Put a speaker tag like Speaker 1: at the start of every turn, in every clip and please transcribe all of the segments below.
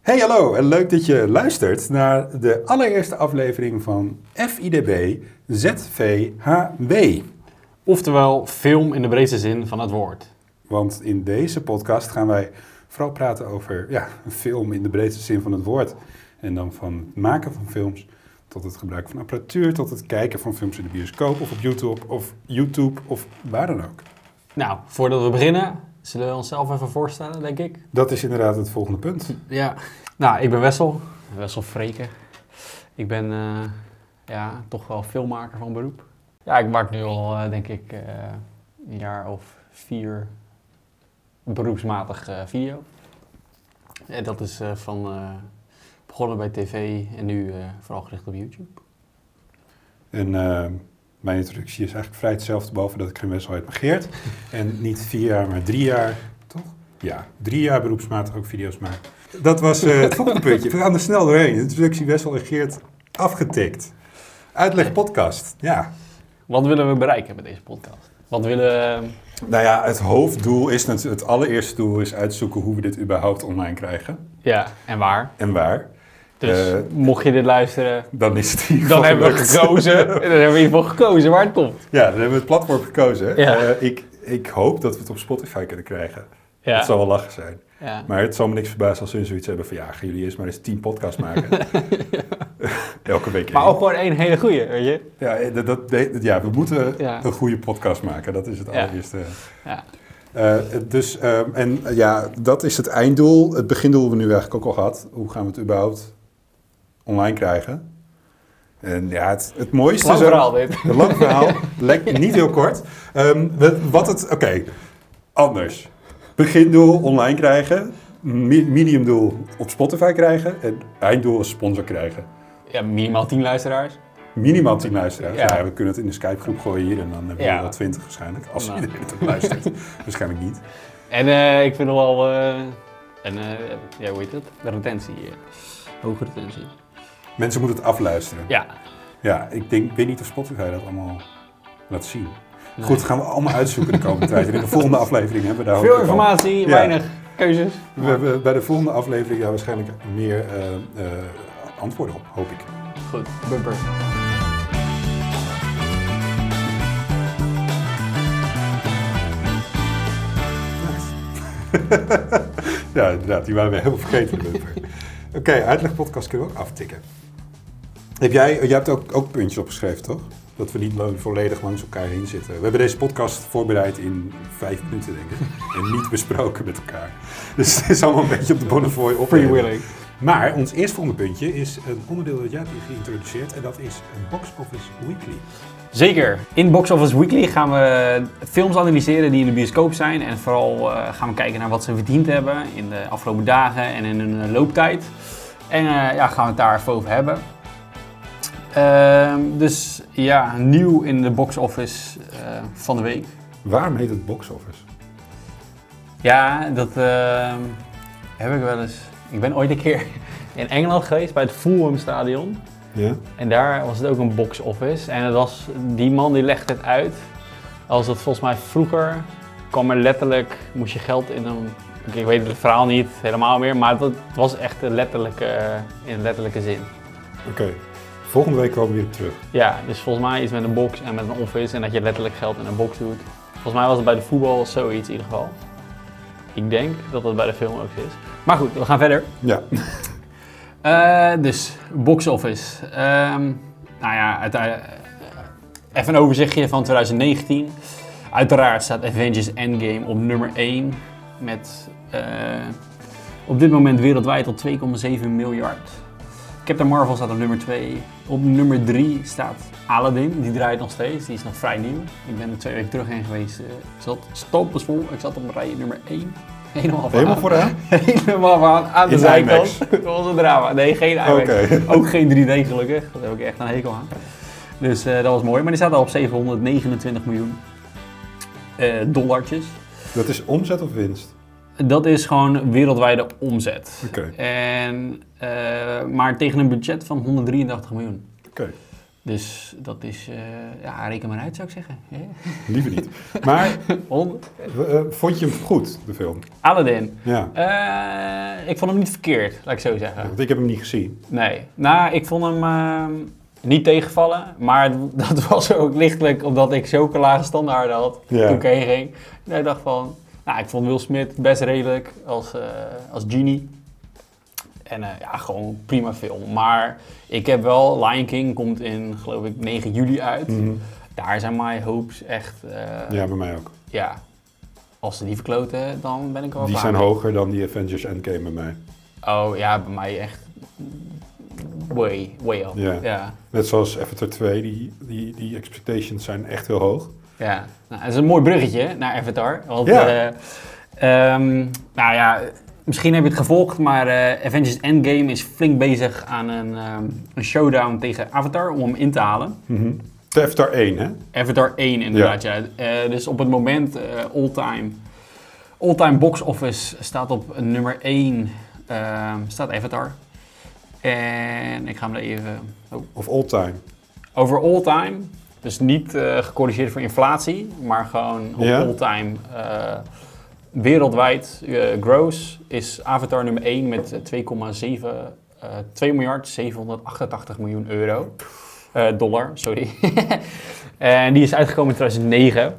Speaker 1: Hey hallo en leuk dat je luistert naar de allereerste aflevering van FIDB ZVHW.
Speaker 2: Oftewel film in de breedste zin van het woord.
Speaker 1: Want in deze podcast gaan wij vooral praten over ja, een film in de breedste zin van het woord. En dan van het maken van films tot het gebruik van apparatuur, tot het kijken van films in de bioscoop of op YouTube of YouTube of waar dan ook.
Speaker 2: Nou, voordat we beginnen, zullen we onszelf even voorstellen, denk ik.
Speaker 1: Dat is inderdaad het volgende punt.
Speaker 2: Ja. Nou, ik ben Wessel. Wessel Freken. Ik ben eh, ja, toch wel filmmaker van beroep. Ja, ik maak nu al, eh, denk ik, eh, een jaar of vier beroepsmatig eh, video. En dat is eh, van eh, begonnen bij tv en nu eh, vooral gericht op YouTube.
Speaker 1: En eh, mijn introductie is eigenlijk vrij hetzelfde, behalve dat ik geen wedstrijd begeerd. En niet vier jaar, maar drie jaar, toch? Ja, drie jaar beroepsmatig ook video's maken. Dat was eh, het volgende puntje. We gaan er snel doorheen. De introductie Wessel en Geert afgetikt. Uitleg podcast, ja.
Speaker 2: Wat willen we bereiken met deze podcast? Wat willen
Speaker 1: Nou ja, het hoofddoel is natuurlijk, het allereerste doel is uitzoeken hoe we dit überhaupt online krijgen.
Speaker 2: Ja, en waar?
Speaker 1: En waar.
Speaker 2: Dus
Speaker 1: Eh,
Speaker 2: mocht je dit luisteren,
Speaker 1: Dan is het in ieder
Speaker 2: dan
Speaker 1: geval
Speaker 2: hebben we
Speaker 1: gelukt.
Speaker 2: gekozen. dan hebben we in ieder geval gekozen waar het komt.
Speaker 1: Ja, dan hebben we het platform gekozen. hè.
Speaker 2: Ja.
Speaker 1: Eh, ik, ik hoop dat we het op Spotify kunnen krijgen.
Speaker 2: Ja.
Speaker 1: Dat zal wel lachen zijn.
Speaker 2: Ja.
Speaker 1: Maar het zal me niks verbazen als ze zoiets hebben van... ja, gaan jullie eerst maar eens tien podcasts maken. Elke week
Speaker 2: Maar
Speaker 1: één.
Speaker 2: ook gewoon één hele goeie, weet je?
Speaker 1: Ja, eh, dat, dat, nee, ja, we moeten
Speaker 2: Ja.
Speaker 1: een goede podcast maken. Dat is het
Speaker 2: Ja.
Speaker 1: allereerste.
Speaker 2: Ja.
Speaker 1: Eh, dus, ehm, en eh, ja, dat is het einddoel. Het begindoel hebben we nu eigenlijk ook al gehad. Hoe gaan we het überhaupt online krijgen? En ja, het, het mooiste
Speaker 2: Lang
Speaker 1: is... ook-
Speaker 2: verhaal dit.
Speaker 1: Een lang verhaal, lek- niet heel kort. Ehm, we- wat het, oké, anders. Begindoel online krijgen, mi- mediumdoel op Spotify krijgen en einddoel als sponsor krijgen.
Speaker 2: Ja, minimaal 10 luisteraars.
Speaker 1: Minimaal 10 luisteraars. Ja.
Speaker 2: Ja.
Speaker 1: we kunnen het in de Skype groep gooien hier en dan hebben we
Speaker 2: Ja.
Speaker 1: wel 20 waarschijnlijk. Als
Speaker 2: Nou.
Speaker 1: iedereen het ook luistert. waarschijnlijk niet.
Speaker 2: En eh, ik vind nog wel. eh, en eh, ja, hoe heet het? De retentie. eh, Hoge retentie.
Speaker 1: Mensen moeten het afluisteren. Ja,
Speaker 2: Ja.
Speaker 1: ik, denk, ik weet niet of Spotify dat allemaal laat zien.
Speaker 2: Nee.
Speaker 1: Goed, dat gaan we allemaal uitzoeken de komende tijd. En in de volgende aflevering hebben we daar
Speaker 2: Veel
Speaker 1: hopelijk al-
Speaker 2: informatie,
Speaker 1: Ja.
Speaker 2: weinig keuzes.
Speaker 1: We hebben bij de volgende aflevering daar waarschijnlijk meer eh, eh, antwoorden op, hoop ik.
Speaker 2: Goed, bumper.
Speaker 1: Ja, inderdaad, die waren we helemaal vergeten. de bumper. Oké, uitlegpodcast kunnen we ook aftikken. Heb jij, jij hebt ook, ook puntjes opgeschreven, toch? Dat we niet lang- volledig langs elkaar heen zitten. We hebben deze podcast voorbereid in vijf minuten, denk ik. En niet besproken met elkaar. Dus het is allemaal een beetje op de bonnefoy op.
Speaker 2: Freewheeling.
Speaker 1: Maar ons eerstvolgende puntje is een onderdeel dat jij hebt geïntroduceerd. En dat is een Box Office Weekly.
Speaker 2: Zeker. In Box Office Weekly gaan we films analyseren die in de bioscoop zijn. En vooral eh, gaan we kijken naar wat ze verdiend hebben in de afgelopen dagen en in hun eh, looptijd. En eh, ja, gaan we het daar even over hebben. Ehm, dus ja, nieuw in de box office eh, van de week.
Speaker 1: Waarom heet het Box Office?
Speaker 2: Ja, dat ehm, heb ik wel eens. Ik ben ooit een keer in Engeland geweest bij het Fulham Stadion.
Speaker 1: Ja?
Speaker 2: En daar was het ook een box office. En het was, die man die legde het uit. Als dat volgens mij vroeger kwam er letterlijk, moest je geld in een. Ik ik weet het verhaal niet helemaal meer, maar dat was echt een letterlijke, eh, in letterlijke zin.
Speaker 1: Oké, volgende week komen we weer op terug.
Speaker 2: Ja, dus volgens mij iets met een box en met een office en dat je letterlijk geld in een box doet. Volgens mij was het bij de voetbal zoiets in ieder geval. Ik denk dat dat bij de film ook zo is. Maar goed, we gaan verder.
Speaker 1: Ja.
Speaker 2: Eh, dus, box office. Ehm, nou ja, uite- eh, even een overzichtje van 2019. Uiteraard staat Avengers Endgame op nummer 1. Met eh, op dit moment wereldwijd al 2,7 miljard. Captain Marvel staat op nummer 2. Op nummer 3 staat Aladdin. Die draait nog steeds. Die is nog vrij nieuw. Ik ben er twee weken terug heen geweest. eh, ik zat stoppersvol. Ik zat op rij nummer 1. Helemaal,
Speaker 1: Helemaal
Speaker 2: vooraan.
Speaker 1: vooraan?
Speaker 2: Helemaal aan, aan de
Speaker 1: In de
Speaker 2: zijkant.
Speaker 1: IMAX.
Speaker 2: Dat was een drama. Nee, geen IMAX.
Speaker 1: Oké.
Speaker 2: Ook geen 3D gelukkig. Daar heb ik echt een hekel aan. Dus eh, dat was mooi. Maar die staat al op 729 miljoen eh dollartjes.
Speaker 1: Dat is omzet of winst?
Speaker 2: Dat is gewoon wereldwijde omzet.
Speaker 1: Oké.
Speaker 2: En, eh, maar tegen een budget van 183 miljoen.
Speaker 1: Oké.
Speaker 2: Dus dat is, eh, ja, reken maar uit zou ik zeggen. Ja.
Speaker 1: Liever niet. Maar
Speaker 2: Honderd.
Speaker 1: eh, vond je hem goed, de film?
Speaker 2: Aladdin.
Speaker 1: Ja.
Speaker 2: Eh, ik vond hem niet verkeerd, laat ik zo zeggen.
Speaker 1: Want ik heb hem niet gezien.
Speaker 2: Nee. Nou, ik vond hem ehm, niet tegenvallen. Maar dat was ook lichtelijk omdat ik zulke lage standaarden had
Speaker 1: Ja.
Speaker 2: toen ik heen ging. En ik dacht van, nou, ik vond Will Smith best redelijk als, eh, als genie. En eh, ja, gewoon prima film. Maar ik heb wel, Lion King komt in, geloof ik, 9 juli uit. Daar zijn mijn hopes echt, eh, ja.
Speaker 1: Mhm. Ja, bij mij ook.
Speaker 2: Als ze die verkloten, dan ben ik wel
Speaker 1: Die
Speaker 2: klaar
Speaker 1: zijn
Speaker 2: mee.
Speaker 1: hoger dan die Avengers Endgame bij mij.
Speaker 2: Oh ja, bij mij echt way, way up.
Speaker 1: Ja.
Speaker 2: ja.
Speaker 1: Net zoals Avatar 2, die, die, die expectations zijn echt heel hoog.
Speaker 2: Ja, nou, dat is een mooi bruggetje naar Avatar. Want,
Speaker 1: Ja.
Speaker 2: eh, ehm, nou ja, misschien heb je het gevolgd, maar eh, Avengers Endgame is flink bezig aan een, ehm, een showdown tegen Avatar om hem in te halen.
Speaker 1: De Avatar 1, hè?
Speaker 2: Avatar 1 inderdaad, ja. Eh, dus op het moment eh all-time all-time box office staat op nummer 1, staat Avatar. En ik ga hem er even... Oh.
Speaker 1: Of all time.
Speaker 2: Over all-time, dus niet eh, gecorrigeerd voor inflatie, maar gewoon op
Speaker 1: Ja.
Speaker 2: all-time eh, wereldwijd eh, gross is Avatar nummer 1 met eh, 2,7 eh 2 miljard 788 miljoen euro. Eh, dollar, sorry. en die is uitgekomen in 2009.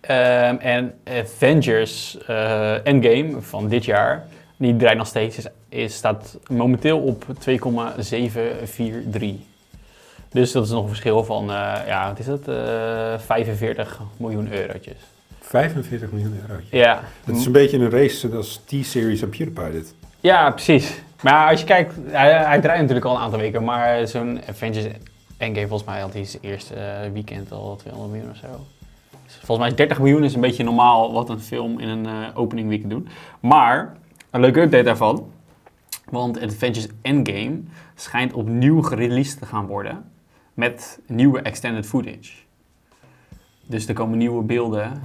Speaker 2: Ehm, en Avengers eh, Endgame van dit jaar, die draait nog steeds, is, is, staat momenteel op 2,743. Dus dat is nog een verschil van, eh, ja, wat is dat? Eh, 45 miljoen eurotjes.
Speaker 1: 45 miljoen euro.
Speaker 2: Ja.
Speaker 1: Het is een beetje een race als T-series en PewDiePie dit.
Speaker 2: ja, precies. Maar als je kijkt, hij, hij draait natuurlijk al een aantal weken, maar zo'n Avengers Endgame volgens mij had hij zijn eerste eh, weekend al 200 miljoen of zo. Dus volgens mij is 30 miljoen is een beetje normaal wat een film in een eh, opening weekend doet. Maar, een leuke update daarvan, want Avengers Endgame schijnt opnieuw gereleased te gaan worden met nieuwe extended footage. Dus er komen nieuwe beelden,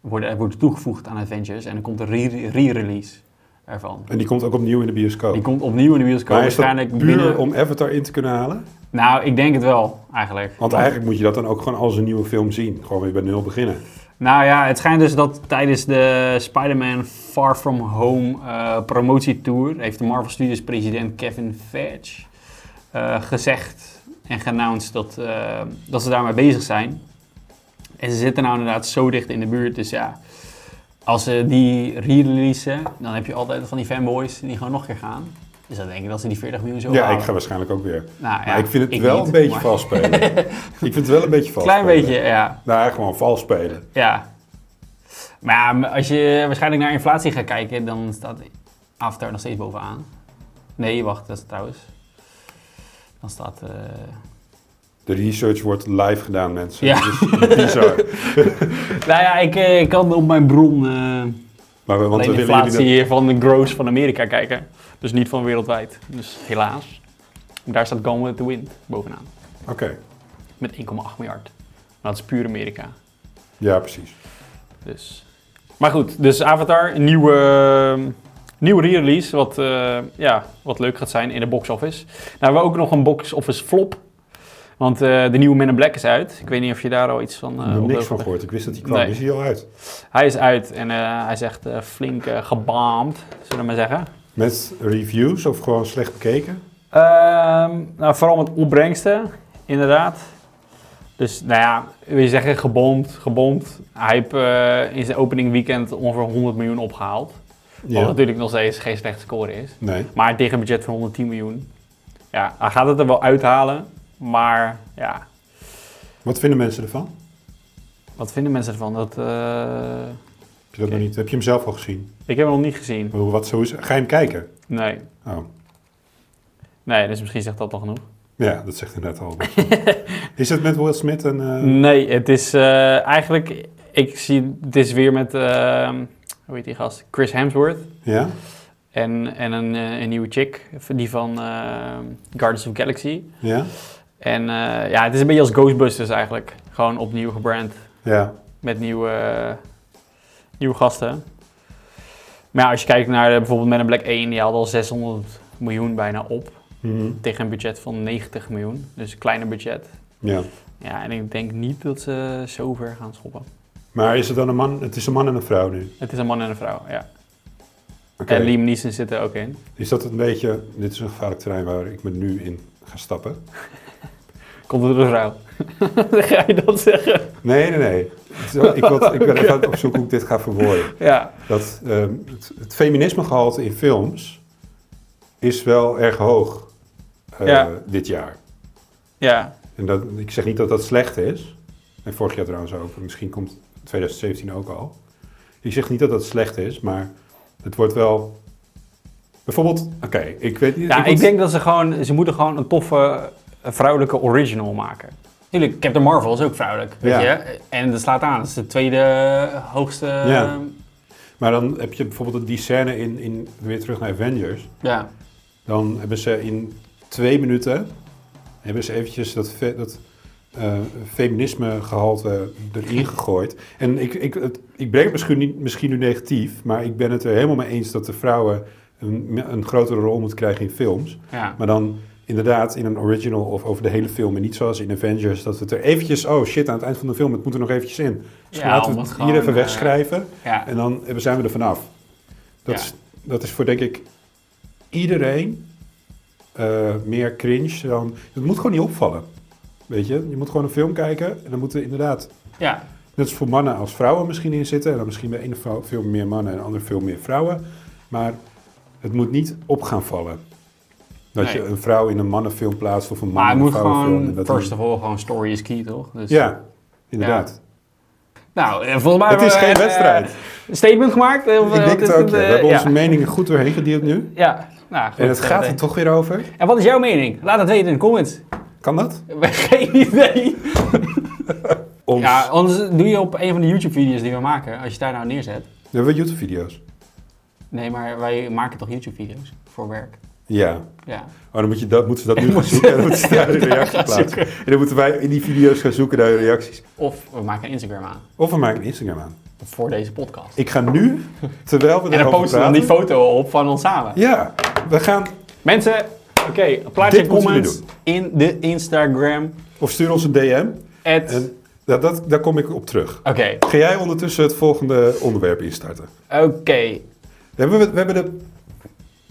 Speaker 2: worden, worden toegevoegd aan Avengers en er komt een re- re-release ervan.
Speaker 1: En die komt ook opnieuw in de bioscoop.
Speaker 2: Die komt opnieuw in de bioscoop.
Speaker 1: Oh. maar is dat
Speaker 2: waarschijnlijk
Speaker 1: puur
Speaker 2: binnen...
Speaker 1: om Avatar in te kunnen halen?
Speaker 2: Nou, ik denk het wel, eigenlijk.
Speaker 1: Want eigenlijk moet je dat dan ook gewoon als een nieuwe film zien. Gewoon weer bij nul beginnen.
Speaker 2: Nou ja, het schijnt dus dat tijdens de Spider-Man Far From Home eh, promotietour... heeft de Marvel Studios president Kevin Feige eh, gezegd en geannounced dat, eh, dat ze daarmee bezig zijn. En ze zitten nou inderdaad zo dicht in de buurt, dus ja... Als ze die re-releasen, dan heb je altijd van die fanboys die gewoon nog een keer gaan. Dus dan denk ik dat ze die 40 miljoen zo
Speaker 1: ja,
Speaker 2: halen.
Speaker 1: ik ga waarschijnlijk ook weer.
Speaker 2: Nou ja,
Speaker 1: maar ik vind het wel
Speaker 2: niet,
Speaker 1: een beetje
Speaker 2: maar-
Speaker 1: vals spelen. ik vind het wel een beetje vals
Speaker 2: Klein
Speaker 1: spelen.
Speaker 2: beetje, ja.
Speaker 1: Nou, gewoon vals spelen.
Speaker 2: ja. Maar ja, als je waarschijnlijk naar inflatie gaat kijken, dan staat Avatar nog steeds bovenaan. Nee, wacht, dat is trouwens. Dan staat... eh,
Speaker 1: De research wordt live gedaan, mensen.
Speaker 2: Ja.
Speaker 1: Dat is bizar.
Speaker 2: Nou ja, ik, eh, ik kan op mijn bron eh
Speaker 1: Maar we, want we
Speaker 2: alleen
Speaker 1: willen jullie
Speaker 2: inflatie
Speaker 1: dat-
Speaker 2: van de gross van Amerika kijken. Dus niet van wereldwijd. Dus helaas. Daar staat Gone with the Wind bovenaan.
Speaker 1: Oké,
Speaker 2: Met 1,8 miljard. Maar dat is puur Amerika.
Speaker 1: ja, precies.
Speaker 2: Dus. Maar goed, dus Avatar, een nieuwe, ehm, nieuwe re-release, wat, eh, ja, wat leuk gaat zijn in de box office. Nou, we hebben ook nog een box office flop. Want eh, de nieuwe Men in Black is uit. Ik weet niet of je daar al iets van...
Speaker 1: Ik
Speaker 2: eh,
Speaker 1: heb er
Speaker 2: op
Speaker 1: niks
Speaker 2: de hoogte
Speaker 1: van gehoord. Ik wist dat die kwam.
Speaker 2: Nee.
Speaker 1: Is hij al uit?
Speaker 2: bent. Hij is uit en eh, hij is echt eh, flink eh, gebaamd, zullen we maar zeggen.
Speaker 1: Met reviews of gewoon slecht bekeken?
Speaker 2: Ehm, nou, vooral met opbrengsten, inderdaad. Dus nou ja, wil je zeggen gebomd, gebomd. Hij heeft eh, in zijn opening weekend ongeveer 100 miljoen opgehaald. Wat natuurlijk nog steeds geen slechte score is.
Speaker 1: Nee.
Speaker 2: Maar tegen een budget van 110 miljoen. Ja, hij gaat het er wel uithalen. Maar ja,
Speaker 1: Wat vinden mensen ervan?
Speaker 2: wat vinden mensen ervan? Dat, eh,
Speaker 1: Heb je, dat nog niet, heb je hem zelf al gezien?
Speaker 2: ik heb hem nog niet gezien.
Speaker 1: Hoe- Wat, zo is, ga je hem kijken?
Speaker 2: Nee.
Speaker 1: Oh,
Speaker 2: Nee, dus misschien zegt dat al genoeg.
Speaker 1: ja, dat zegt inderdaad al. wat. is het met Will Smith en... eh,
Speaker 2: Nee, het is eh, eigenlijk... Ik zie het is weer met... eh, hoe heet die gast? Chris Hemsworth.
Speaker 1: Ja?
Speaker 2: En, en een, eh, een nieuwe chick. Die van eh, Guardians of the Galaxy.
Speaker 1: Ja?
Speaker 2: En eh, ja, het is een beetje als Ghostbusters eigenlijk. Gewoon opnieuw gebrand.
Speaker 1: Ja.
Speaker 2: met nieuwe, nieuwe gasten. Maar ja, als je kijkt naar eh, bijvoorbeeld Men in Black 1, die hadden al 600 miljoen bijna op.
Speaker 1: Mhm.
Speaker 2: Tegen een budget van 90 miljoen. Dus een kleiner budget.
Speaker 1: Ja.
Speaker 2: Ja, en ik denk niet dat ze zo ver gaan schoppen.
Speaker 1: Maar is het dan een man? Het is een man en een vrouw nu.
Speaker 2: Het is een man en een vrouw, ja.
Speaker 1: Oké.
Speaker 2: En Liam Neeson zit er ook in.
Speaker 1: Is dat een beetje, dit is een gevaarlijk terrein waar ik me nu in ga stappen?
Speaker 2: Komt er een vrouw? Ga je dat zeggen?
Speaker 1: Nee, nee, nee. Het is- Ik, wil, ik ben even aan het opzoeken hoe ik dit ga verwoorden.
Speaker 2: Ja.
Speaker 1: Dat, ehm, het, het feminismegehalte in films is wel erg hoog eh,
Speaker 2: Ja.
Speaker 1: dit jaar.
Speaker 2: Ja.
Speaker 1: En dat, ik zeg niet dat dat slecht is. En vorig jaar trouwens ook. Misschien komt 2017 ook al. Ik zeg niet dat dat slecht is, maar het wordt wel... Bijvoorbeeld, oké, ik weet niet...
Speaker 2: Ja,
Speaker 1: moet-
Speaker 2: ik denk dat ze gewoon, ze moeten gewoon een toffe eh, vrouwelijke original maken. Tuurlijk, Captain Marvel is ook vrouwelijk,
Speaker 1: weet Ja.
Speaker 2: En dat slaat aan, dat is de tweede eh, hoogste...
Speaker 1: Ja. Maar dan heb je bijvoorbeeld die scène in, in weer terug naar Avengers.
Speaker 2: ja.
Speaker 1: Dan hebben ze in twee minuten hebben ze eventjes dat, fe- dat eh, feminismegehalte erin gegooid. En ik, ik, het- ik breng het misschien, niet, misschien nu negatief, maar ik ben het er helemaal mee eens dat de vrouwen een, een grotere rol moeten krijgen in films.
Speaker 2: ja.
Speaker 1: Maar dan inderdaad in een original of over de hele film en niet zoals in Avengers dat we het er eventjes, oh shit, aan het eind van de film, het moet er nog eventjes in. Dus
Speaker 2: Ja,
Speaker 1: laten
Speaker 2: om
Speaker 1: we het
Speaker 2: het
Speaker 1: hier
Speaker 2: gewoon,
Speaker 1: even
Speaker 2: eh,
Speaker 1: wegschrijven.
Speaker 2: ja.
Speaker 1: En dan hebben- zijn we er vanaf. Dat,
Speaker 2: Ja.
Speaker 1: is, dat is voor, denk ik, iedereen eh, meer cringe dan... Het moet gewoon niet opvallen, weet je. Je moet gewoon een film kijken en dan moeten inderdaad...
Speaker 2: ja.
Speaker 1: Net als voor mannen als vrouwen misschien in zitten. En dan misschien bij de ene vrouw veel meer mannen en de andere veel meer vrouwen. Maar het moet niet op gaan vallen. Dat
Speaker 2: Nee.
Speaker 1: je een vrouw in een mannenfilm plaatst of een man
Speaker 2: Maar het
Speaker 1: in een
Speaker 2: moet
Speaker 1: vrouwenfilm. en
Speaker 2: gewoon,
Speaker 1: dat
Speaker 2: first of all, gewoon story is key, toch? Dus,
Speaker 1: Ja, inderdaad.
Speaker 2: Nou, eh, volgens mij...
Speaker 1: Het is
Speaker 2: hebben we,
Speaker 1: geen
Speaker 2: eh,
Speaker 1: wedstrijd.
Speaker 2: Een statement gemaakt? eh, Of,
Speaker 1: Ik
Speaker 2: eh,
Speaker 1: denk
Speaker 2: wat
Speaker 1: het
Speaker 2: is
Speaker 1: ook. ja.
Speaker 2: eh,
Speaker 1: We hebben
Speaker 2: ja.
Speaker 1: onze meningen goed doorheen gedeeld nu.
Speaker 2: Ja. Nou, goed,
Speaker 1: En het
Speaker 2: eh,
Speaker 1: gaat
Speaker 2: eh.
Speaker 1: er toch weer over.
Speaker 2: En wat is jouw mening? Laat het weten in de comments.
Speaker 1: Kan dat?
Speaker 2: Geen idee.
Speaker 1: Ons.
Speaker 2: Ja, anders doe je op een van de YouTube-video's die we maken, als je daar nou neerzet.
Speaker 1: We hebben YouTube-video's.
Speaker 2: Nee, maar wij maken toch YouTube-video's voor werk?
Speaker 1: Ja.
Speaker 2: Ja.
Speaker 1: Oh, dan moet je dat, moeten ze dat nu gaan
Speaker 2: moet je-
Speaker 1: zoeken en dan moeten ze daar de
Speaker 2: Daar
Speaker 1: reacties
Speaker 2: gaan
Speaker 1: plaatsen.
Speaker 2: zoeken.
Speaker 1: En dan moeten wij in die video's gaan zoeken naar de reacties.
Speaker 2: Of we maken een Instagram aan
Speaker 1: Of we maken een Instagram aan.
Speaker 2: voor deze podcast.
Speaker 1: Ik ga nu, terwijl we
Speaker 2: en dan
Speaker 1: erover
Speaker 2: posten we
Speaker 1: praten...
Speaker 2: dan die foto op van ons samen.
Speaker 1: Ja, we gaan...
Speaker 2: Mensen, oké, plaats
Speaker 1: Dit
Speaker 2: je
Speaker 1: moeten jullie
Speaker 2: comments in de Instagram.
Speaker 1: Of stuur ons een DM.
Speaker 2: at- Oké,
Speaker 1: En dat, dat, daar kom ik op terug.
Speaker 2: oké.
Speaker 1: Ga jij ondertussen het volgende onderwerp instarten? Hebben we, we hebben de...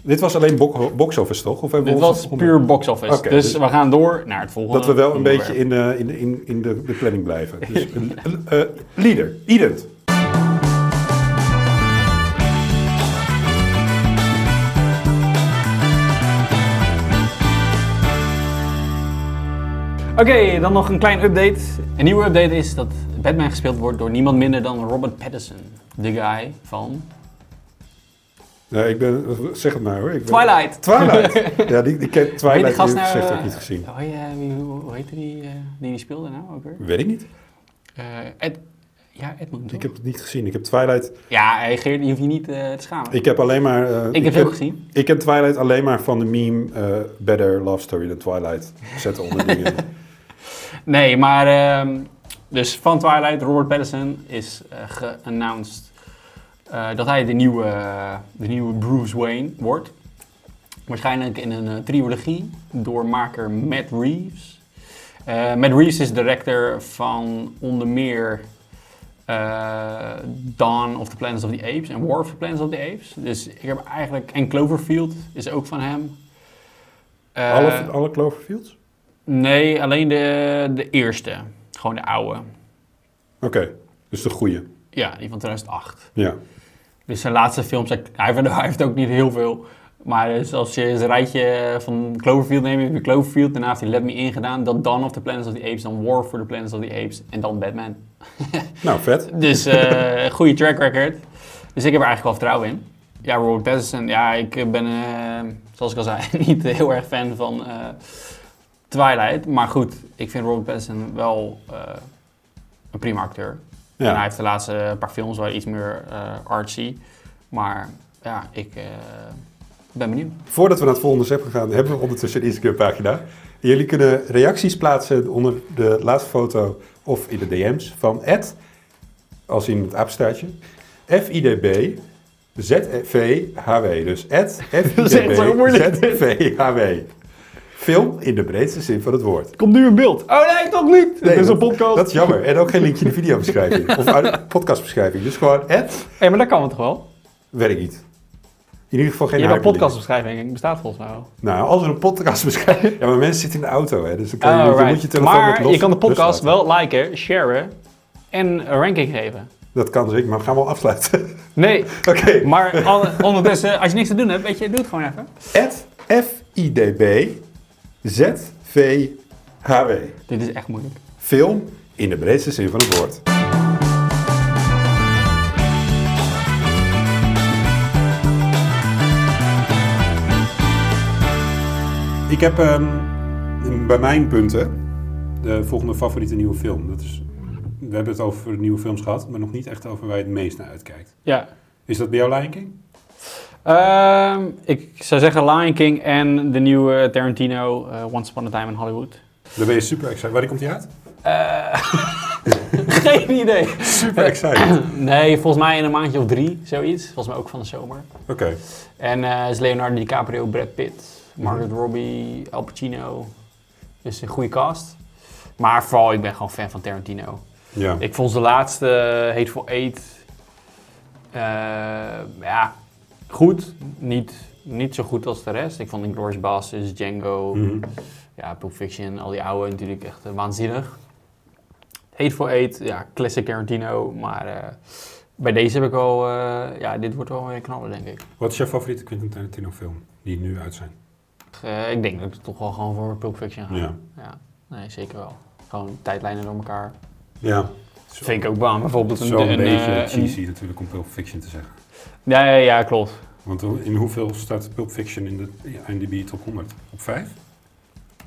Speaker 1: Dit was alleen bok- box-office, toch? Of hebben
Speaker 2: Dit
Speaker 1: we ons
Speaker 2: was
Speaker 1: onder-
Speaker 2: puur box office.
Speaker 1: Oké,
Speaker 2: dus,
Speaker 1: dus-
Speaker 2: we gaan door naar het volgende.
Speaker 1: Dat we wel een
Speaker 2: onderwerp.
Speaker 1: beetje in, eh, in, in, in de, de planning blijven. Dus, eh, eh, leader, Ident.
Speaker 2: Oké, dan nog een klein update. Een nieuwe update is dat Batman gespeeld wordt door niemand minder dan Robert Pattinson. De guy van
Speaker 1: Nee, ik ben... Zeg het maar hoor. Ik ben-
Speaker 2: Twilight.
Speaker 1: Twilight. ja, die, die kent
Speaker 2: Weet die
Speaker 1: Twilight
Speaker 2: gast
Speaker 1: die
Speaker 2: nou,
Speaker 1: heeft gezegd
Speaker 2: eh,
Speaker 1: ook niet gezien.
Speaker 2: Hoe, eh, wie- hoe, hoe heette die eh, die die speelde nou ook weer?
Speaker 1: Weet ik niet.
Speaker 2: Eh, Ed, ja, Edmund.
Speaker 1: Ik
Speaker 2: toch?
Speaker 1: heb het niet gezien. Ik heb Twilight...
Speaker 2: Ja, hey, Geert, je hoeft je niet eh, te schamen. Ik,
Speaker 1: Ik heb alleen maar... eh,
Speaker 2: heb het ook gezien.
Speaker 1: Ik ken Twilight alleen maar van de meme eh, Better Love Story than Twilight. Zet onder die in.
Speaker 2: Nee, maar ehm, dus van Twilight, Robert Pattinson is eh geannounced eh, dat hij de nieuwe, de nieuwe Bruce Wayne wordt. Waarschijnlijk in een eh, trilogie door maker Matt Reeves. Eh, Matt Reeves is director van onder meer eh, Dawn of the Planets of the Apes en War of the Planets of the Apes. Dus ik heb eigenlijk... En Cloverfield is ook van hem. Eh,
Speaker 1: alle, alle Cloverfields?
Speaker 2: Nee, alleen de, de eerste. Gewoon de oude.
Speaker 1: Oké, dus de goede.
Speaker 2: Ja, die van 2008.
Speaker 1: Ja.
Speaker 2: Dus zijn laatste films, hij hij heeft, hij heeft ook niet heel veel. Maar dus als je eens een rijtje eh, van Cloverfield neemt, heb je Cloverfield. Daarna heeft hij Let Me In gedaan. Dan Dawn of the Planets of the Apes. Dan War for the Planets of the Apes. En dan Batman.
Speaker 1: Nou, vet.
Speaker 2: Dus eh goede track record. Dus ik heb er eigenlijk wel vertrouwen in. Ja, Robert Pattinson. Ja, ik eh, ben, eh, zoals ik al zei, niet heel erg fan van eh, Twilight. Maar goed, ik vind Robert Pattinson wel eh, een prima acteur. En hij
Speaker 1: Ja.
Speaker 2: heeft de laatste paar films wel iets meer eh, artsy. Maar ja, ik eh, ben benieuwd.
Speaker 1: Voordat we naar het volgende stap gaan, hebben we ondertussen een Instagram-pagina. Jullie kunnen reacties plaatsen onder de laatste foto of in de DM's van Ed, als in het apenstaartje, FIDB, ZVHW. Dus Ed,
Speaker 2: Dat is echt zo
Speaker 1: FIDB,
Speaker 2: moeilijk.
Speaker 1: ZVHW. film in de breedste zin van het woord.
Speaker 2: Komt nu in beeld. Oh nee, toch niet.
Speaker 1: Nee,
Speaker 2: Dit is een
Speaker 1: dat-
Speaker 2: podcast.
Speaker 1: Dat is jammer. En ook geen linkje in de videobeschrijving. of uit de podcastbeschrijving. Dus gewoon het
Speaker 2: Hé, maar dat kan het toch wel?
Speaker 1: werkt niet. In ieder geval geen
Speaker 2: Je hebt een
Speaker 1: hyperlink.
Speaker 2: podcastbeschrijving, bestaat volgens mij wel.
Speaker 1: Nou, als er een podcastbeschrijving... Ja, maar mensen zitten in de auto, hè. Dus dan, kan je, dan
Speaker 2: Alright.
Speaker 1: moet je telefoon met
Speaker 2: Ah, Oh, maar
Speaker 1: los-
Speaker 2: je kan de podcast
Speaker 1: loslaten.
Speaker 2: wel liken, sharen en een ranking geven.
Speaker 1: Dat kan zeker, maar we gaan wel afsluiten.
Speaker 2: Nee,
Speaker 1: Oké.
Speaker 2: maar alle-
Speaker 3: Ondertussen, als je niks te doen hebt, weet je, doe het gewoon even.
Speaker 1: At FIDB ZVHW.
Speaker 3: Dit is echt moeilijk.
Speaker 1: Film in de breedste zin van het woord. Ik heb ehm, bij mijn punten de volgende favoriete nieuwe film. Dat is, we hebben het over nieuwe films gehad, maar nog niet echt over waar je het meest naar uitkijkt.
Speaker 2: ja.
Speaker 1: Is dat bij jou Lion King?
Speaker 2: Ehm, ik zou zeggen Lion King en de nieuwe Tarantino, eh, Once Upon a Time in Hollywood.
Speaker 1: Daar ben je super excited. Waar komt die uit? Eh.
Speaker 2: Geen idee.
Speaker 1: Super excited.
Speaker 2: Nee, volgens mij in een maandje of drie, zoiets. Volgens mij ook van de zomer.
Speaker 1: Oké.
Speaker 2: En eh is Leonardo DiCaprio, Brad Pitt, Margaret Robbie, Al Pacino. Dus een goede cast. Maar vooral, ik ben gewoon fan van Tarantino.
Speaker 1: Ja.
Speaker 2: Ik vond de laatste eh, Hateful Eight... eh, ja, goed. Niet, niet zo goed als de rest. Ik vond Inglourious Basterds, Django,
Speaker 1: Mhm.
Speaker 2: ja, Pulp Fiction, al die oude natuurlijk echt eh, waanzinnig. Hateful Eight, ja, classic Tarantino. Maar eh, bij deze heb ik al... eh, ja, dit wordt wel weer knallen, denk ik.
Speaker 1: Wat is jouw favoriete Quentin Tarantino film die nu uit zijn?
Speaker 2: Eh, ik denk dat ik toch wel gewoon voor Pulp Fiction ga.
Speaker 1: Ja.
Speaker 2: Ja, nee, zeker wel. Gewoon tijdlijnen door elkaar.
Speaker 1: Ja. Zo-
Speaker 2: Vind ik ook baan. Bijvoorbeeld een...
Speaker 1: Zo'n beetje
Speaker 2: eh,
Speaker 1: cheesy natuurlijk om Pulp Fiction te zeggen.
Speaker 2: een- ja, ja, ja, klopt.
Speaker 1: Want in hoeveel staat Pulp Fiction in de IMDb top 100? Op 5?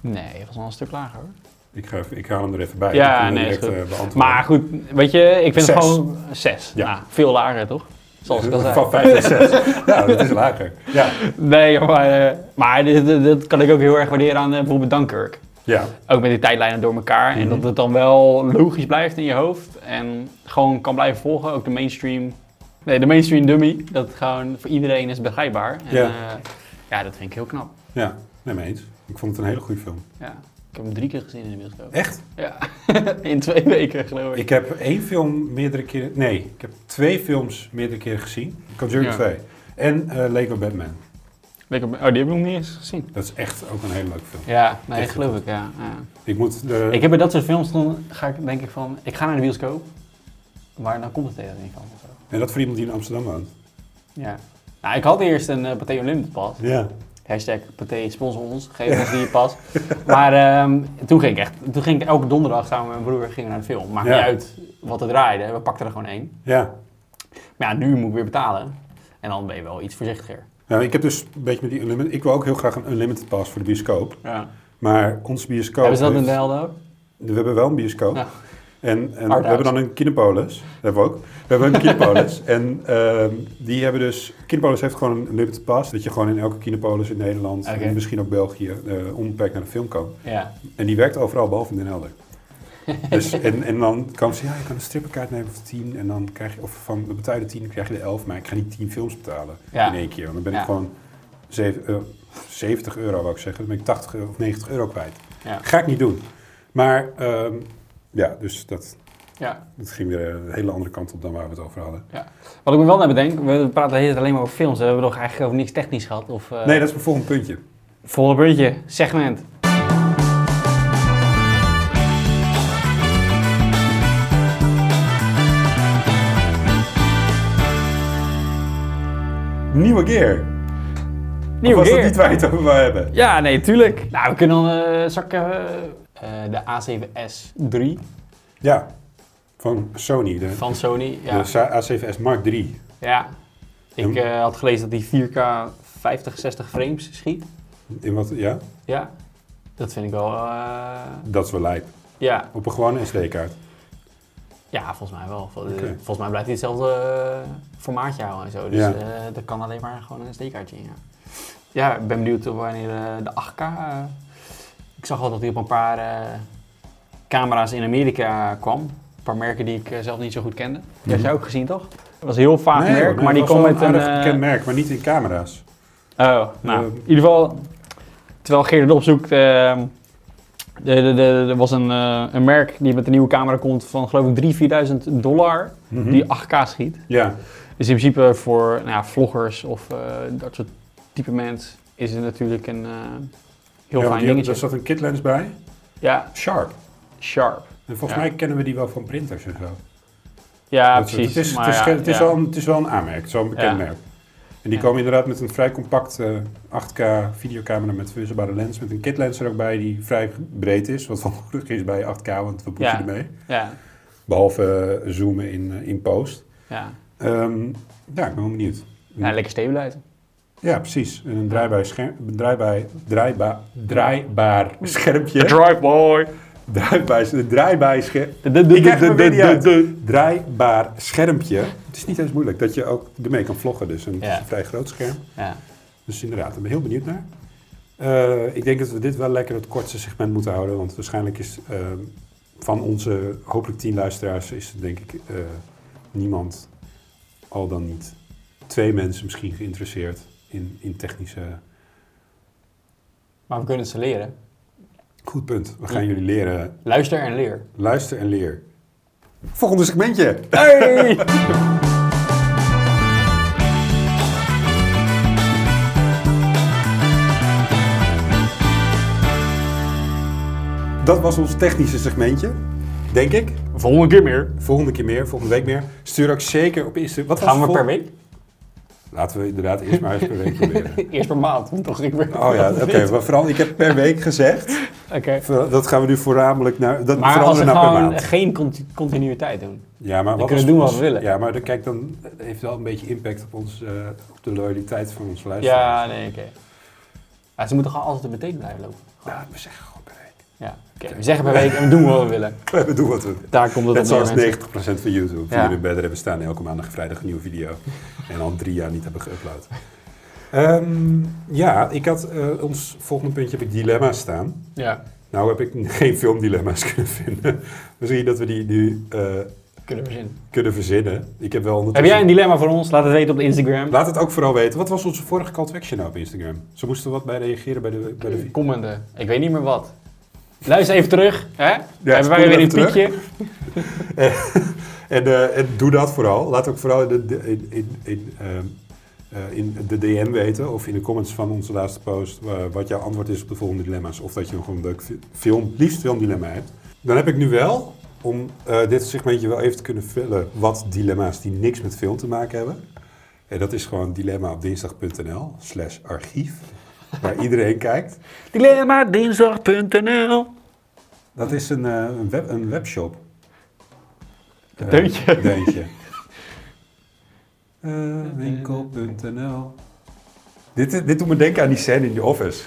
Speaker 2: Nee, dat was wel een stuk lager hoor.
Speaker 1: Ik, ga even, ik haal hem er even bij.
Speaker 2: Ja,
Speaker 1: Ik kan hem
Speaker 2: nee, is
Speaker 1: direct, eh, beantwoorden.
Speaker 2: Maar goed, weet je, ik vind
Speaker 1: Zes.
Speaker 2: het gewoon zes.
Speaker 1: Ja.
Speaker 2: Ja. veel lager toch? Zoals ik al zei.
Speaker 1: Van 5 naar 6. ja, dat is lager. Ja.
Speaker 2: Nee, maar, eh, maar dit- dit- dat kan ik ook heel erg waarderen aan eh, bijvoorbeeld Dunkirk.
Speaker 1: ja.
Speaker 2: Ook met die tijdlijnen door elkaar. En dat het dan wel logisch blijft in je hoofd. En gewoon kan blijven volgen. Ook de mainstream. Nee, de mainstream dummy. Dat gewoon voor iedereen is begrijpbaar. En,
Speaker 1: Ja.
Speaker 2: ja. ja, dat vind ik heel knap.
Speaker 1: Ja, nee, mee eens. Ik vond het een hele goede film.
Speaker 2: Ja. Ik heb hem drie keer gezien in de bioscoop.
Speaker 1: Echt?
Speaker 2: Ja. in twee weken geloof ik.
Speaker 1: Ik heb één film meerdere keren... Nee, ik heb twee films meerdere keren gezien. Conjuring
Speaker 2: Ja.
Speaker 1: 2. En eh, Lego Batman.
Speaker 2: Lekker- Oh, die heb ik nog niet eens gezien.
Speaker 1: Dat is echt ook een hele leuke film.
Speaker 2: Ja, nee,
Speaker 1: Echt
Speaker 2: geloof ik. Ja, ja.
Speaker 1: Ik moet... De...
Speaker 2: Ik heb bij dat soort films, dan ga ik, denk ik van, ik ga naar de bioscoop. Maar dan komt het tegen niet van. of zo.
Speaker 1: En dat voor iemand die in Amsterdam woont.
Speaker 2: Ja. Nou, ik had eerst een eh Pathé Unlimited pas.
Speaker 1: Ja.
Speaker 2: Hashtag Pathé sponsor ons, geef ons die pas. Maar ehm, toen ging ik echt, toen ging ik elke donderdag samen met mijn broer gingen we naar de film. Maakt
Speaker 1: Ja.
Speaker 2: niet uit wat er draaide, we pakten er gewoon één.
Speaker 1: Ja.
Speaker 2: Maar ja, nu moet ik weer betalen. En dan ben je wel iets voorzichtiger.
Speaker 1: Nou, ik heb dus een beetje met die unlimited. Ik wil ook heel graag een unlimited pass voor de bioscoop.
Speaker 2: Ja.
Speaker 1: Maar ons bioscoop.
Speaker 2: Hebben ze dat in
Speaker 1: heeft-
Speaker 2: de helden ook?
Speaker 1: We hebben wel een bioscoop.
Speaker 2: Ja.
Speaker 1: En, en we
Speaker 2: Arthouse.
Speaker 1: hebben dan een Kinepolis. Dat hebben we ook. We hebben een Kinepolis. en ehm, die hebben dus. Kinepolis heeft gewoon een unlimited pass. Dat je gewoon in elke Kinepolis in Nederland.
Speaker 2: Oké.
Speaker 1: En misschien ook België. eh onbeperkt naar de film kan.
Speaker 2: Ja.
Speaker 1: En die werkt overal behalve in Den Helder. dus, en, en dan komen ze, ja, je kan een strippenkaart nemen of tien. En dan krijg je, of van, we betalen tien, dan krijg je de elf. Maar ik ga niet tien films betalen
Speaker 2: Ja.
Speaker 1: in één keer. Want dan ben ik
Speaker 2: Ja.
Speaker 1: gewoon zeven, eh, 70 euro, wou ik zeggen. Dan ben ik 80 euro of 90 euro kwijt.
Speaker 2: Ja.
Speaker 1: Ga ik niet doen. Maar ehm, ja, dus dat,
Speaker 2: ja.
Speaker 1: dat ging weer een hele andere kant op dan waar we het over hadden.
Speaker 2: Wat ik me wel naar bedenk, we praten de hele tijd alleen maar over films. We hebben nog eigenlijk over niks technisch gehad. Of, eh,
Speaker 1: nee, dat is mijn volgende puntje.
Speaker 2: Volgende puntje, segment.
Speaker 1: Nieuwe gear. Of
Speaker 2: Nieuwe
Speaker 1: was dat
Speaker 2: gear.
Speaker 1: niet waar je het over wou hebben?
Speaker 2: Ja, nee, tuurlijk. Nou, we kunnen dan eh zakken eh, de A7S3
Speaker 1: Ja, van Sony, de,
Speaker 2: van Sony. Ja,
Speaker 1: de Sa- A7S Mark III.
Speaker 2: ja. ik
Speaker 1: Ja.
Speaker 2: eh, had gelezen dat die 4K 50, 60 frames schiet.
Speaker 1: In wat, ja,
Speaker 2: Ja, dat vind ik wel... eh,
Speaker 1: dat is wel lijp.
Speaker 2: ja.
Speaker 1: Op een gewone SD-kaart.
Speaker 2: ja, volgens mij wel. Vol-
Speaker 1: Oké.
Speaker 2: Volgens mij blijft hij hetzelfde eh, formaatje houden en zo. Dus
Speaker 1: Ja.
Speaker 2: eh, er kan alleen maar gewoon een SD-kaartje in, ja. Ja, ik ben benieuwd wanneer eh, de 8K... eh, ik zag al dat hij op een paar eh, camera's in Amerika kwam. Een paar merken die ik eh, zelf niet zo goed kende. Die had jij ook gezien, toch? Dat was een heel vaag
Speaker 1: Nee,
Speaker 2: merk,
Speaker 1: hoor, nee,
Speaker 2: maar die
Speaker 1: het was
Speaker 4: eh,
Speaker 2: kwam eh,
Speaker 1: wel
Speaker 2: met een...
Speaker 1: aardig
Speaker 2: eh,
Speaker 1: bekend merk, maar niet in camera's.
Speaker 2: Oh, nou,
Speaker 1: Eh,
Speaker 2: in ieder geval
Speaker 4: terwijl Geert het opzoekt, ehm, de- de- de- er was een, eh, een merk die met een nieuwe camera komt van geloof ik 3.000, 4.000 dollar,
Speaker 1: Mhm.
Speaker 4: die 8K schiet.
Speaker 1: Ja,
Speaker 4: Dus in principe voor nou ja, vloggers of eh, dat soort type mens is het natuurlijk een eh, heel
Speaker 1: ja, dus-
Speaker 4: fijn
Speaker 1: die-
Speaker 4: dingetje.
Speaker 1: daar zat een kitlens bij.
Speaker 4: Ja,
Speaker 1: Sharp.
Speaker 4: sharp.
Speaker 1: En volgens
Speaker 4: Ja.
Speaker 1: mij kennen we die wel van printers en zo.
Speaker 4: Ja,
Speaker 1: Dat soort-
Speaker 4: precies.
Speaker 1: Het is,
Speaker 4: Maar
Speaker 1: het is,
Speaker 4: ja,
Speaker 1: ge- het is
Speaker 4: ja.
Speaker 1: wel een, het is wel een aanmerk, het is wel een bekend
Speaker 4: Ja.
Speaker 1: merk. En die
Speaker 4: Ja.
Speaker 1: komen inderdaad met een vrij compact eh, 8K videocamera met verwisselbare lens. Met een kitlens er ook bij die vrij breed is. Wat van gelukkig is bij 8K, want wat moet
Speaker 4: Ja.
Speaker 1: je ermee?
Speaker 4: Ja,
Speaker 1: Behalve eh, zoomen in, eh, in post.
Speaker 4: ja.
Speaker 1: Ehm, ja, ik ben wel benieuwd.
Speaker 4: ja, lekker stabiliteit.
Speaker 1: Ja, precies. En een draaibaar, scherm, draaibaar, draaibaar, draaibaar schermpje.
Speaker 4: Drive-boy.
Speaker 1: Draaibaar, draaibaar scherm.
Speaker 4: De, de, de,
Speaker 1: Ik krijg
Speaker 4: de,
Speaker 1: me weer
Speaker 4: de,
Speaker 1: niet
Speaker 4: de-
Speaker 1: uit.
Speaker 4: de-
Speaker 1: Draaibaar schermpje. Het is niet eens moeilijk dat je ook ermee kan vloggen. Dus en het
Speaker 2: Ja.
Speaker 1: is een vrij groot scherm.
Speaker 2: Ja.
Speaker 1: Dus inderdaad, ik ben heel benieuwd naar. Eh, ik denk dat we dit wel lekker het kortste segment moeten houden. Want waarschijnlijk is eh, van onze hopelijk tien luisteraars... is denk ik eh, niemand, al dan niet twee mensen misschien geïnteresseerd... in, in technische...
Speaker 2: Maar we kunnen het ze leren.
Speaker 1: Goed punt. We gaan jullie leren.
Speaker 2: Luister en leer.
Speaker 1: Luister en leer. Volgende segmentje.
Speaker 2: Hey!
Speaker 1: Dat was ons technische segmentje. Denk ik.
Speaker 4: Volgende keer meer.
Speaker 1: Volgende keer meer, volgende week meer. Stuur ook zeker op Instagram. Wat was
Speaker 2: Gaan we
Speaker 1: vol-
Speaker 2: per week?
Speaker 1: Laten we inderdaad eerst maar eens per week proberen.
Speaker 4: Eerst per maand, want toch ik weer.
Speaker 1: Oh ja, oké. maar vooral, ik heb per week gezegd.
Speaker 4: Oké.
Speaker 1: Dat gaan we nu voornamelijk naar. Dat
Speaker 2: Maar als we
Speaker 1: veranderen naar per
Speaker 2: gewoon
Speaker 1: maand.
Speaker 2: geen conti- continuïteit doen.
Speaker 1: Ja, maar wat
Speaker 2: kunnen
Speaker 1: als-
Speaker 2: doen wat we willen.
Speaker 1: Ja, maar dan, kijk, dan heeft wel een beetje impact op, ons, eh, op de loyaliteit van onze luisteraars.
Speaker 2: Ja, nee, oké. Maar ze moeten gewoon altijd op de date blijven lopen.
Speaker 1: Ja, we zeggen gewoon per week.
Speaker 2: Ja, oké. We zeggen per week en we doen wat we willen.
Speaker 1: We doen wat we willen.
Speaker 2: Daar komt het
Speaker 1: Net
Speaker 2: op neer,
Speaker 1: zoals 90%
Speaker 2: mensen.
Speaker 1: van YouTube. Die
Speaker 2: Ja.
Speaker 1: jullie verder hebben staan elke maandag en vrijdag een nieuwe video. En al drie jaar niet hebben geüpload. Ehm, ja, ik had eh, ons volgende puntje heb ik dilemma's staan.
Speaker 2: Ja,
Speaker 1: Nou heb ik geen filmdilemma's kunnen vinden. Misschien dat we die nu eh,
Speaker 2: kunnen we zien.
Speaker 1: kunnen verzinnen. Ik heb wel
Speaker 4: Heb
Speaker 1: ondertussen-
Speaker 4: jij een dilemma voor ons? Laat het weten op de Instagram.
Speaker 1: Laat het ook vooral weten. Wat was onze vorige call to action nou op Instagram? Ze moesten wat bij reageren bij de...
Speaker 2: Hmm.
Speaker 1: Bij de...
Speaker 4: Commenten. Ik weet niet meer wat. Luister even terug. Hè? Hebben
Speaker 1: spoel
Speaker 4: wij weer
Speaker 1: even
Speaker 4: een
Speaker 1: terug.
Speaker 4: piekje?
Speaker 1: En, eh, en doe dat vooral. Laat ook vooral in de, de- in, in, in, ehm, eh, in de DM weten of in de comments van onze laatste post eh, wat jouw antwoord is op de volgende dilemma's. Of dat je nog een leuk fi- film, liefst filmdilemma hebt. Dan heb ik nu wel, om eh, dit segmentje wel even te kunnen vullen, wat dilemma's die niks met film te maken hebben. En dat is gewoon dilemma op dinsdag.nl slash archief, waar iedereen kijkt.
Speaker 4: Dilemma dinsdag.nl.
Speaker 1: Dat is een, eh, een, web, een webshop.
Speaker 4: Een
Speaker 1: Eh,
Speaker 4: deuntje.
Speaker 1: een deuntje. Eh, winkel.nl dit, is- dit doet me denken aan die scène in The Office.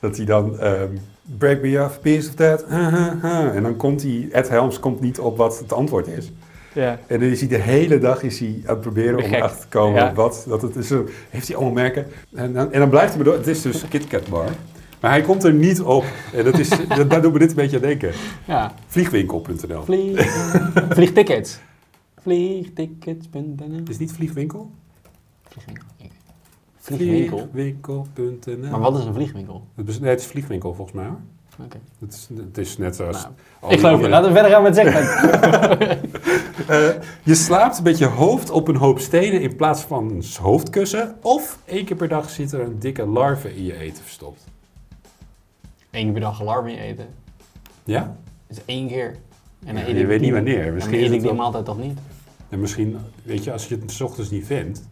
Speaker 1: Dat hij dan... ehm, Break me off, a piece of that. En dan komt hij... Ed Helms komt niet op wat het antwoord is.
Speaker 4: Ja.
Speaker 1: En dan is hij de hele dag is hij aan het proberen om
Speaker 4: Gek.
Speaker 1: erachter te komen.
Speaker 4: Ja.
Speaker 1: Wat, dat het is, zo- heeft hij allemaal merken. En dan, en dan blijft hij maar door. Het is dus KitKat Bar. Maar hij komt er niet op. En dat is, dat- daar doet me dit een beetje aan denken.
Speaker 4: ja.
Speaker 1: Vliegwinkel.nl.
Speaker 4: Vlieg. Vliegtickets. Vliegtickets.nl.
Speaker 1: Is het niet vliegwinkel?
Speaker 2: Vliegwinkel.
Speaker 1: Vliegwinkel.nl.
Speaker 2: Maar wat is een vliegwinkel?
Speaker 1: Het is, nee, het is vliegwinkel volgens mij hoor.
Speaker 2: Oké.
Speaker 1: Het is, het is net zoals...
Speaker 2: Nou,
Speaker 4: Ik
Speaker 1: al die
Speaker 4: geloof je. Laten
Speaker 1: andere-
Speaker 4: we verder gaan met het segment.
Speaker 1: Eh, je slaapt met je hoofd op een hoop stenen in plaats van een hoofdkussen. Of één keer per dag zit er een dikke larve in je eten verstopt.
Speaker 2: Eén keer per dag alarm in eten.
Speaker 1: Ja?
Speaker 2: Dat is één keer. En
Speaker 1: Ja,
Speaker 2: eet
Speaker 1: je
Speaker 2: ik
Speaker 1: weet
Speaker 2: die-
Speaker 1: niet wanneer.
Speaker 2: Dan
Speaker 1: Misschien is
Speaker 2: eet ik
Speaker 1: het
Speaker 2: die
Speaker 1: wel-
Speaker 2: maaltijd toch niet.
Speaker 1: En misschien, weet je, als je het 's ochtends niet vindt...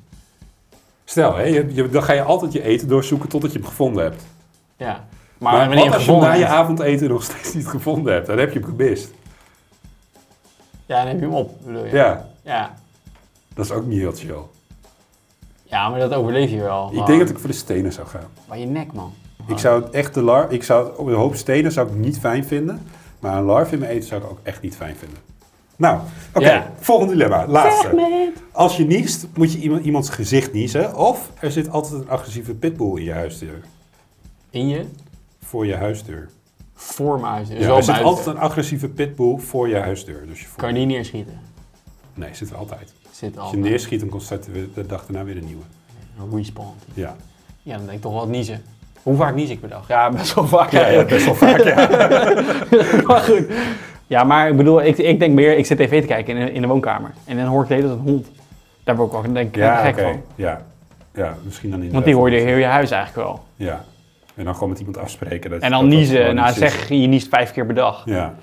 Speaker 1: Stel, hè, je, je- dan ga je altijd je eten doorzoeken totdat je hem gevonden hebt.
Speaker 2: Ja.
Speaker 1: Maar,
Speaker 2: Maar, wanneer
Speaker 1: wat als je hem
Speaker 2: gevonden
Speaker 1: na je
Speaker 2: hebt-
Speaker 1: avondeten nog steeds niet gevonden hebt? Dan heb je hem gemist.
Speaker 2: Ja, dan heb je hem op, bedoel je.
Speaker 1: Ja,
Speaker 2: Ja.
Speaker 1: dat is ook niet heel chill.
Speaker 2: Ja, maar dat overleef je wel.
Speaker 1: Ik denk dat ik voor de stenen zou gaan.
Speaker 2: Maar je nek, man.
Speaker 1: Ik zou het echt de lar, ik zou het- een hoop stenen zou ik niet fijn vinden, maar een larf in mijn eten zou ik ook echt niet fijn vinden. Nou, oké,
Speaker 2: Ja.
Speaker 1: volgende dilemma, laatste. Als je niest, moet je iemand, iemands gezicht niezen, of er zit altijd een agressieve pitbull in je huisdeur,
Speaker 2: In je?
Speaker 1: voor je huisdeur.
Speaker 2: Voor mijn huis. Dus
Speaker 1: Ja,
Speaker 2: wel
Speaker 1: er zit
Speaker 2: buiten.
Speaker 1: altijd een agressieve pitbull voor je huisdeur. Dus je voelt-
Speaker 2: Kan je die neerschieten?
Speaker 1: Nee, zit er altijd.
Speaker 2: Zit
Speaker 1: Als
Speaker 2: al.
Speaker 1: je neerschiet, dan komt er de dag daarna weer een nieuwe.
Speaker 2: Respawn.
Speaker 1: Ja.
Speaker 2: Ja, dan denk ik toch wel het niezen. Hoe vaak nies ik per dag? Ja, best wel vaak.
Speaker 1: Ja, ja,
Speaker 2: eigenlijk.
Speaker 1: best wel vaak, ja.
Speaker 2: maar goed. Ja, maar ik bedoel, ik, ik denk meer, ik zit tv te kijken in, de- in de woonkamer. En dan hoor ik de hele tijd een hond. Daar word ik ook denk, ik
Speaker 1: Ja,
Speaker 2: gek
Speaker 1: oké.
Speaker 2: van.
Speaker 1: Ja. ja, misschien dan in
Speaker 2: Want die hoor je heel je huis eigenlijk wel.
Speaker 1: Ja. En dan gewoon met iemand afspreken. Dat dat
Speaker 2: En dan
Speaker 1: dat gewoon
Speaker 2: niezen. Nou,
Speaker 1: niet
Speaker 2: zeg, je niest vijf keer per dag.
Speaker 1: zit. Ja,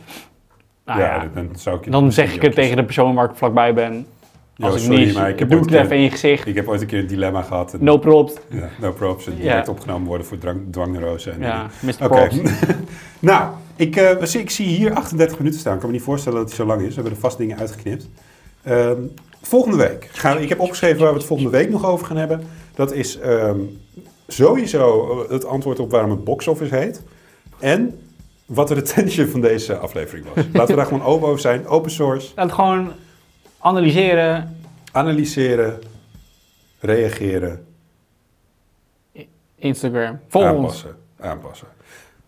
Speaker 2: Nou
Speaker 1: ja,
Speaker 2: ja.
Speaker 1: dan zou ik je
Speaker 2: Dan
Speaker 1: misschien
Speaker 2: zeg ik
Speaker 1: niet
Speaker 2: het tegen de persoon waar ik vlakbij ben.
Speaker 1: Yo,
Speaker 2: Als ik
Speaker 1: sorry,
Speaker 2: nies,
Speaker 1: maar ik heb
Speaker 2: doe
Speaker 1: ooit
Speaker 2: ik het
Speaker 1: een
Speaker 2: even
Speaker 1: keer-
Speaker 2: in je gezicht.
Speaker 1: Ik heb ooit een keer een dilemma gehad. En,
Speaker 2: No props.
Speaker 1: ja, no props. En
Speaker 2: Ja.
Speaker 1: direct opgenomen worden voor drang, dwangneurose. En
Speaker 2: Ja, Mr.
Speaker 1: Oké.
Speaker 2: Props.
Speaker 1: nou, ik, eh, zie- ik zie hier 38 minuten staan. Ik kan me niet voorstellen dat het zo lang is. We hebben er vast dingen uitgeknipt. Ehm, volgende week. Gaan, ik heb opgeschreven waar we het volgende week nog over gaan hebben. Dat is ehm, sowieso eh, het antwoord op waarom het box-office heet. En wat de retention van deze aflevering was. Laten we daar gewoon open over zijn. Open source.
Speaker 2: Laat het gewoon analyseren.
Speaker 1: Analyseren. Reageren.
Speaker 2: Instagram. Volg ons.
Speaker 1: aanpassen. Aanpassen.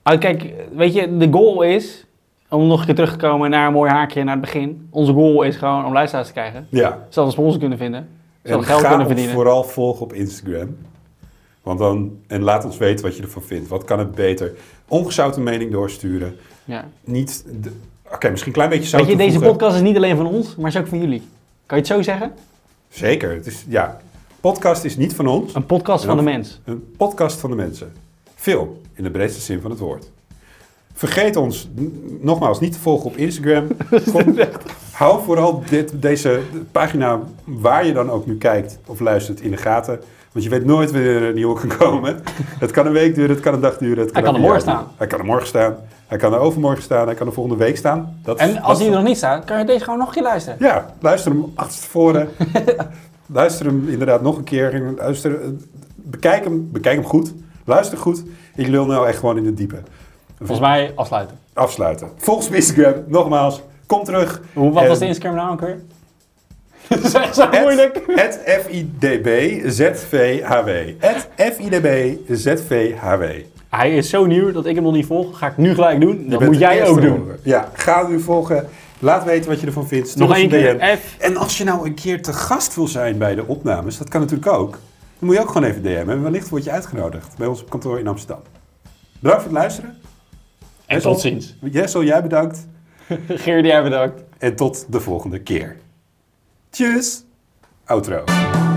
Speaker 2: Ah, kijk, weet je, de goal is, om nog een keer terug te komen naar een mooi haakje naar het begin. Onze goal is gewoon om luisteraars te krijgen.
Speaker 1: Ja.
Speaker 2: Zelfs een sponsor kunnen vinden.
Speaker 1: En
Speaker 2: Zelfs geld
Speaker 1: ga
Speaker 2: kunnen
Speaker 1: ons
Speaker 2: verdienen.
Speaker 1: vooral volgen op Instagram. Want dan, en laat ons weten wat je ervan vindt. Wat kan het beter? Ongezouten mening doorsturen.
Speaker 2: Ja.
Speaker 1: Niet, de- oké, misschien een klein beetje zout
Speaker 2: Weet je, deze
Speaker 1: toevoegen.
Speaker 2: podcast is niet alleen van ons, maar is ook van jullie. Kan je het zo zeggen?
Speaker 1: Zeker, het is, ja. Podcast is niet van ons,
Speaker 2: Een podcast
Speaker 1: Ja.
Speaker 2: van de mens.
Speaker 1: een podcast van de mensen. Film, in de breedste zin van het woord. Vergeet ons, n- nogmaals, niet te volgen op Instagram. Kom- hou vooral dit, deze pagina, waar je dan ook nu kijkt of luistert, in de gaten. Want je weet nooit wanneer er een nieuwe kan komen. Het kan een week duren, het kan een dag duren. Het kan
Speaker 2: Hij kan
Speaker 1: ook
Speaker 2: er
Speaker 1: een
Speaker 2: morgen
Speaker 1: jaar duren. Hij kan er morgen staan. Hij kan er overmorgen staan. Hij kan er volgende week staan. Dat is-
Speaker 2: En als
Speaker 1: dat-
Speaker 2: die er nog niet staat, kan je deze gewoon nog een keer luisteren.
Speaker 1: ja, luister hem achter tevoren. luister hem inderdaad nog een keer. En Luister, eh, bekijk, hem, bekijk hem goed. Luister goed. Ik lul nou echt gewoon in het diepe.
Speaker 2: Volgens mij afsluiten.
Speaker 1: Afsluiten. Volg ons op Instagram. Nogmaals, kom terug.
Speaker 2: Hoe, wat
Speaker 1: En-
Speaker 2: was de Instagram nou ook weer? Dat is echt zo
Speaker 1: At-
Speaker 2: moeilijk.
Speaker 1: at FIDB ZVHW. At FIDB ZVHW.
Speaker 2: Hij is zo nieuw dat ik hem nog niet volg. Ga ik nu gelijk doen.
Speaker 1: Je
Speaker 2: Dat
Speaker 1: bent
Speaker 2: moet
Speaker 1: de
Speaker 2: jij
Speaker 1: eerste
Speaker 2: ook doen.
Speaker 1: volger. Ja, ga nu volgen. Laat weten wat je ervan vindt. Stuur
Speaker 2: Nog
Speaker 1: ons
Speaker 2: één
Speaker 1: een DM.
Speaker 2: keer. F.
Speaker 1: En als je nou een keer te gast wil zijn bij de opnames, dat kan natuurlijk ook. Dan moet je ook gewoon even DM'en. En wellicht word je uitgenodigd bij ons op kantoor in Amsterdam. Bedankt voor het luisteren.
Speaker 2: En tot ziens.
Speaker 1: Jessel, jij bedankt.
Speaker 2: Geer, jij bedankt.
Speaker 1: En tot de volgende keer. Tjus. Outro.